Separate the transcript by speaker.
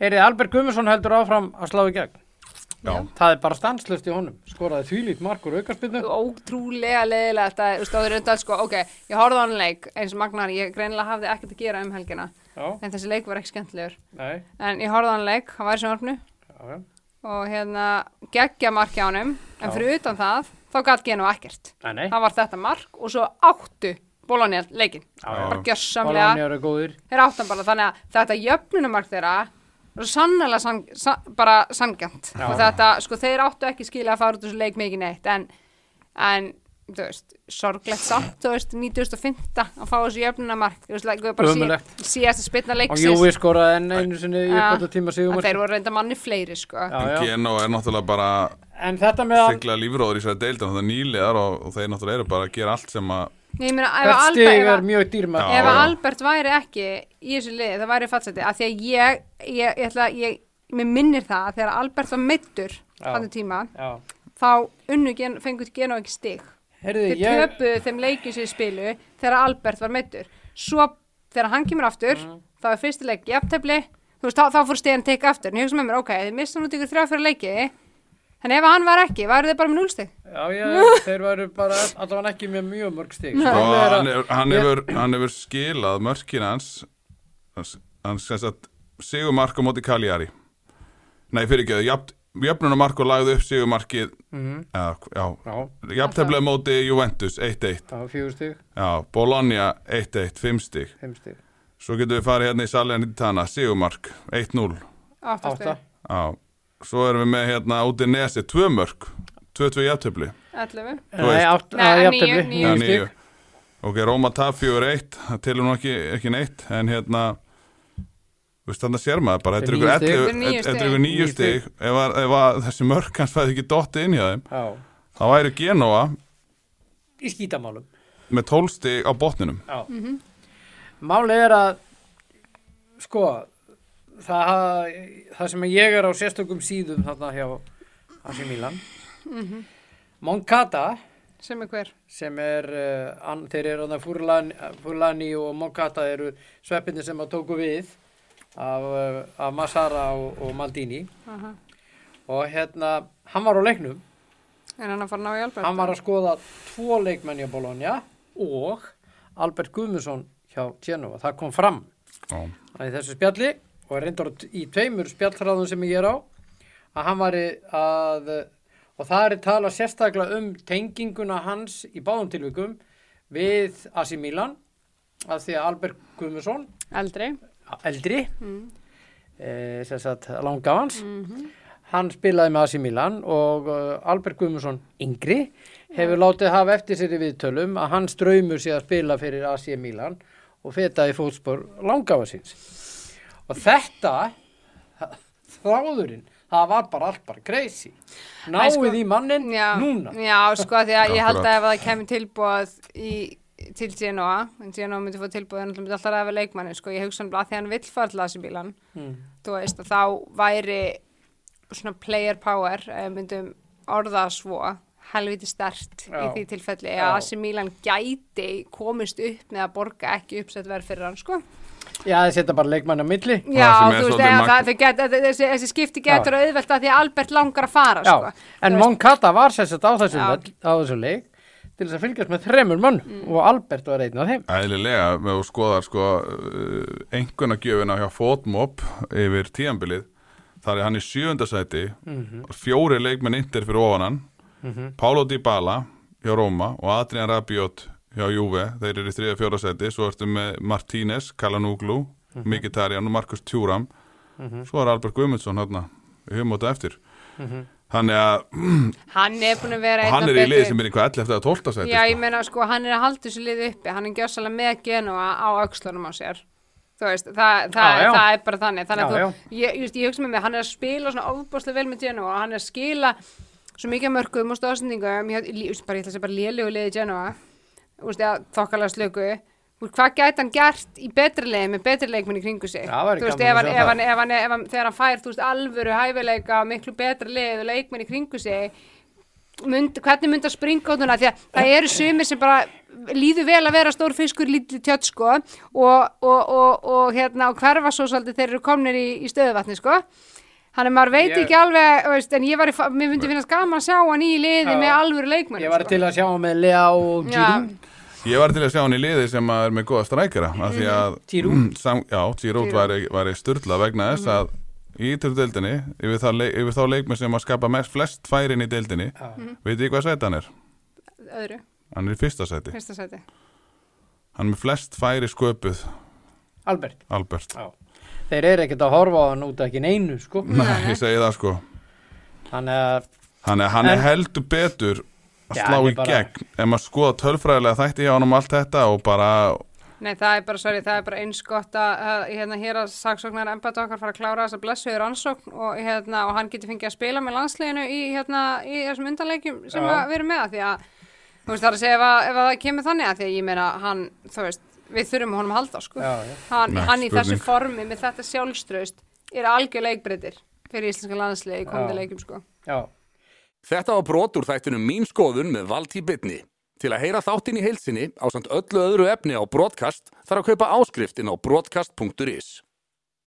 Speaker 1: Heyrið, Albert Guðmundsson heldur áfram að slá í gegn.
Speaker 2: Já.
Speaker 1: Það er bara stanslust í honum. Skoraði þvílít markur aukarspilnu.
Speaker 3: ótrúlega leðilegt að, þú veist, áður undan, sko, ok, ég horfði á hann leik eins og Magnar, ég greinilega hafði ekkert að gera um helgina,
Speaker 1: Já,
Speaker 3: en þessi leik var ekki skemmtilegur.
Speaker 1: nei,
Speaker 3: En ég horfði á hann leik, hann var í sjónarfnu
Speaker 1: já, já.
Speaker 3: og hérna geggja marki á hann,
Speaker 1: Já.
Speaker 3: en fyrir utan það, þá gæti Geno ekkert.
Speaker 1: Nei, nei.
Speaker 3: Það var þetta mark og svo áttu Bólónia leikin,
Speaker 1: já.
Speaker 3: bara
Speaker 1: Bólanir
Speaker 3: gjössamlega,
Speaker 1: eru góðir.
Speaker 3: þeir áttan bara, þannig að þetta jöfnunumark þeirra, var Sannlega san, san, bara sangjant
Speaker 1: Já.
Speaker 3: og þetta, sko, þeir áttu ekki skilja að fara út úr þessu leik mikið neitt en, en þú veist, sorglegt samt, þú veist, 1905 að fá þessu jöfnunamark, þú veist, like, við bara
Speaker 1: Ömurlegt.
Speaker 3: sí, síðast að spilna
Speaker 1: Og
Speaker 3: leiksins
Speaker 1: Júi skoraði enn einu sinni í
Speaker 3: Já.
Speaker 1: uppáttu tíma
Speaker 3: að
Speaker 1: síðumar.
Speaker 3: þeir voru reynda manni fleiri, sko
Speaker 1: Já, já.
Speaker 2: Geno er náttúrulega bara
Speaker 1: En þetta með að
Speaker 2: sigla lífróður í sér deildin þannig að nýliðar og, og þeir náttúrulega eru bara að gera allt sem að
Speaker 3: Ég meina, ef
Speaker 1: hvert
Speaker 3: Albert,
Speaker 1: stig
Speaker 3: ef
Speaker 1: er
Speaker 3: að-
Speaker 1: mjög dýrmætt.
Speaker 2: Já,
Speaker 3: ef
Speaker 2: já.
Speaker 3: að Albert væri ekki í þessu liði, það væri fatsæti að því að ég, ég, ég ætla, ég mér minnir það að þegar Albert var meittur
Speaker 1: Já.
Speaker 3: þannig tíma,
Speaker 1: Já.
Speaker 3: þá unnu gen, fengur Geno ekki stig
Speaker 1: Heyrðu,
Speaker 3: þeir
Speaker 1: ég...
Speaker 3: töpuðu þeim leikjum sem þeir spilu þegar Albert var meittur svo þegar hann kemur aftur
Speaker 1: Mm.
Speaker 3: þá er fyrsti leik jafntefli þú veist, þá, þá fór stegin teka aftur en ég hugsa með mér, ok, þið missa nút ykkur þrjá fyrir leiki en ef hann var ekki, væru þið bara með núlstig
Speaker 1: Já, já, þeir væru bara allavega ekki með mjög mörg stig. sko.
Speaker 3: Nei.
Speaker 2: og
Speaker 1: Þannig er
Speaker 2: hann,
Speaker 1: að-
Speaker 2: hefur- hann,
Speaker 1: Ég-
Speaker 2: hefur, hann hefur skilað mörkin hans hans, hans sem sagt sigumark á móti Kaljari nei fyrir ekki, jafn, jafnunumark og lagði upp sigumarkið mm
Speaker 1: Mhm.
Speaker 2: já,
Speaker 1: Já,
Speaker 2: já, jafnteflega móti Juventus 1-1,
Speaker 1: já, fjögur stig,
Speaker 2: já, Bologna 1-1, 5 stig,
Speaker 1: fimm stig,
Speaker 2: svo getum við farið hérna í Salernitana, sigumark 1-0,
Speaker 1: átta.
Speaker 3: áttastu,
Speaker 2: já svo erum við með hérna úti Nesi 2 mörk, 2-2 jafntefli
Speaker 3: 11
Speaker 2: Þú veist.
Speaker 1: Nei, átta,
Speaker 3: Nei,
Speaker 1: já,
Speaker 3: níu,
Speaker 1: jafntefli,
Speaker 3: níu.
Speaker 2: Já,
Speaker 1: níu
Speaker 2: níu.
Speaker 1: stig.
Speaker 2: Ok, Róma taf 4-1, það telur nú ekki, ekki neitt, en hérna, þú veist þannig að sér maður bara, þetta er
Speaker 1: Þetta er níu
Speaker 2: ykkur
Speaker 1: stig.
Speaker 3: Þetta
Speaker 2: 11 þetta er
Speaker 3: er níu stig.
Speaker 2: ykkur níu
Speaker 1: Níu
Speaker 2: stig, ef, að- ef að þessi mörk hans fæði ekki dotti inn hjá þeim,
Speaker 1: Já,
Speaker 2: þá væri Genoa
Speaker 1: í skítamálum.
Speaker 2: með 12 stig á botninum.
Speaker 1: Já. Málið er að, sko, það, það sem ég er á sérstökum síðum þarna hjá Asi Milan, Moncada,
Speaker 3: sem er hver
Speaker 1: sem er, uh, an, þeir eru þarna Furlani, Furlani og Moncada eru sveppinni sem að tóku við af, uh, af Massara og, og Maldini
Speaker 3: Aha.
Speaker 1: og hérna, hann var á leiknum
Speaker 3: en hann að fara að ná í Albert
Speaker 1: hann var að skoða tvo leikmenn hjá Bologna og Albert Guðmundsson hjá Genova. Það kom fram
Speaker 2: Já,
Speaker 1: í þessu spjalli og er reyndar í tveimur spjallræðum sem ég er á að hann var að og það er tala sérstaklega um tenginguna hans í báðum tilvikum við Asi Milan að því að Albert Guðmundsson
Speaker 3: eldri
Speaker 1: eldri
Speaker 3: Mm.
Speaker 1: eh, sem sagt langafans
Speaker 3: Mhm.
Speaker 1: hann spilaði með AC Milan og uh, Albert Guðmundsson yngri hefur látið hafa eftir sér í viðtölum að hann ströymur sér að spila fyrir AC Milan og fetaði fótspor langafansins og þetta þráðurinn það var bara allt bara crazy náið
Speaker 3: sko,
Speaker 1: í mannin
Speaker 3: já,
Speaker 1: núna
Speaker 3: já, sko, því að ég held
Speaker 2: Akkurat.
Speaker 3: að ef það kemur tilbúið í, til Genoa en Genoa myndi fóð tilbúið en alltaf myndi alltaf ræða leikmanni sko, ég hugsa um að því að hann vill fara til Asibílan
Speaker 1: Hmm.
Speaker 3: mm. þú veist að þá væri svona player power ef við myndum orða það svo helviti stert í
Speaker 1: Já.
Speaker 3: því tilfelli
Speaker 1: Já.
Speaker 3: að AC Milan gæti komist upp með að borga ekki uppsett verð fyrir hann sko.
Speaker 1: já það setja bara leikmann á milli
Speaker 3: Já,
Speaker 2: sem er
Speaker 3: þú veist,
Speaker 2: svolítið
Speaker 3: eða
Speaker 2: magn-
Speaker 3: það, þau get, þe- þessi, þessi skipti getur
Speaker 1: Já.
Speaker 3: auðvelt að því að Albert langar að fara
Speaker 1: Já,
Speaker 3: sko.
Speaker 1: en
Speaker 3: Þú veist-
Speaker 1: Moncada var sérsett á þessu,
Speaker 3: Já.
Speaker 1: völl- á þessu leik til þess að fylgjast með þremur mönnum
Speaker 3: Mm.
Speaker 1: og Albert var einn af þeim.
Speaker 2: Æðlilega, með þú skoðar sko uh, einhvernagjöfina hjá Fótmop yfir tíambilið, þar er hann í sjöundasæti, mm
Speaker 3: Mhm.
Speaker 2: fjóri leikmenn indir fyrir ofan hann, Paulo Dybala hjá Róma og Adrian Rabiot hjá Juve, þeir eru í þriða fjóra sæti, svo ertu með Martínez, Kalanuglu,
Speaker 3: Mhm.
Speaker 2: Mikitarian og Markus Tjúram, svo er Albert Guðmundsson hérna, við höfum átta eftir.
Speaker 3: Mhm.
Speaker 2: Þannig að
Speaker 3: Hann er búin að vera
Speaker 2: og
Speaker 3: einn
Speaker 2: hann
Speaker 3: af
Speaker 2: er í
Speaker 3: betri-
Speaker 2: liði sem er eitthvað 11 eftir að 12 sæti.
Speaker 3: Já,
Speaker 2: sko.
Speaker 3: ég meina sko, hann er að halda þessu liði uppi, hann er gjössalega með Genoa á aukslunum á sér. Þú veist, það, það,
Speaker 1: Já, já.
Speaker 3: það er bara þannig. Þannig
Speaker 1: Já,
Speaker 3: að þú, ég, just, ég hugsa með mig, hann er að spila svona ofbáslega vel með Genoa og hann er að skila svo mikið af mörgum og stóðsendingum, ég, ég, ég, bara, ég ætla að segja bara lélegu liði Genoa, þú veist, eða þokkalega slöku. Þú veist, Hvað gæti hann gert í betri leið með betri leikmenn í kringu sig?
Speaker 1: Já, væri
Speaker 3: Þú veist,
Speaker 1: gaman að sjá það.
Speaker 3: ef hann, ef hann, ef hann, ef hann, þegar hann fær, þú veist, alvöru hæfileika og miklu betra lið og leikmenn í kringu sig, mynd, hvernig mynda springa út núna því að það eru sumir sem bara líður vel að vera stór fiskur lítið tjött sko og, og, og, og hérna og hverfa svo svolítið þeir eru komnir í, í stöðuvatni sko þannig að maður veit
Speaker 1: Ég-
Speaker 3: ekki alveg veist, en ég var, í fa- mér myndi finnast gaman að sjá hann í liði
Speaker 1: Já.
Speaker 3: með alvöru sko. leikmenn
Speaker 1: Ég var til að sjá hann með Lea og Giroud.
Speaker 2: Ég var til að sjá hann í liði sem að er með góða strækjara af því að
Speaker 1: Mhm.
Speaker 2: Mm,
Speaker 1: Giroud. Mhm.
Speaker 2: sam, já, Giroud væri, væri styrla vegna þess að í ítöfdeldinni yfir, þá leik- yfir þá leikmenn sem að skapa mest flest færin í deildinni
Speaker 1: Já. Mhm.
Speaker 2: veit ég hvað sæti hann er?
Speaker 3: öðru,
Speaker 2: Hann er í fyrsta sæti
Speaker 3: fyrsta sæti
Speaker 2: Hann er með flest færi sköpuð
Speaker 1: Albert
Speaker 2: Albert
Speaker 1: Já. Þeir eru ekkert að horfa á hann út af ekki neinu sko.
Speaker 2: Nei, ég segi það sko
Speaker 1: Þannig að
Speaker 2: Hann er, hann er
Speaker 1: En-
Speaker 2: heldur betur að
Speaker 1: Já,
Speaker 2: slá
Speaker 1: hann er
Speaker 2: í
Speaker 1: bara-
Speaker 2: gegn ef maður skoða tölfræðilega þætti hjá hann um allt þetta og bara
Speaker 3: Nei, það er bara, sorry, það er bara eins gott að, að hérna, hér að saksóknar embætt okkar fara að klára þess að blessuður rannsókn og, hérna, og hann getur fengið að spila með landsleginu í, hérna, í þessum undanleikjum sem
Speaker 1: Já.
Speaker 3: að við erum með að því að, þú veist, það er að segja ef, að, ef að það kemur þannig að því að ég meina hann, þú veist, við þurfum honum að halda, sko.
Speaker 1: Já, já.
Speaker 3: Hann,
Speaker 2: Nei,
Speaker 3: hann í þessu
Speaker 2: spurning.
Speaker 3: formi með þetta sjálfstraust er algjör leikbreytir fyrir íslenska landslegi í komandi
Speaker 1: Já.
Speaker 3: leikum, sko.
Speaker 1: já,
Speaker 4: Þetta var brot úr þættunum Mín skoðun með Valtí Bitni. Til að heyra þáttinn í heilsinni á samt öllu öðru efni á brotkast þarf að kaupa áskrift inn á brotkast.is.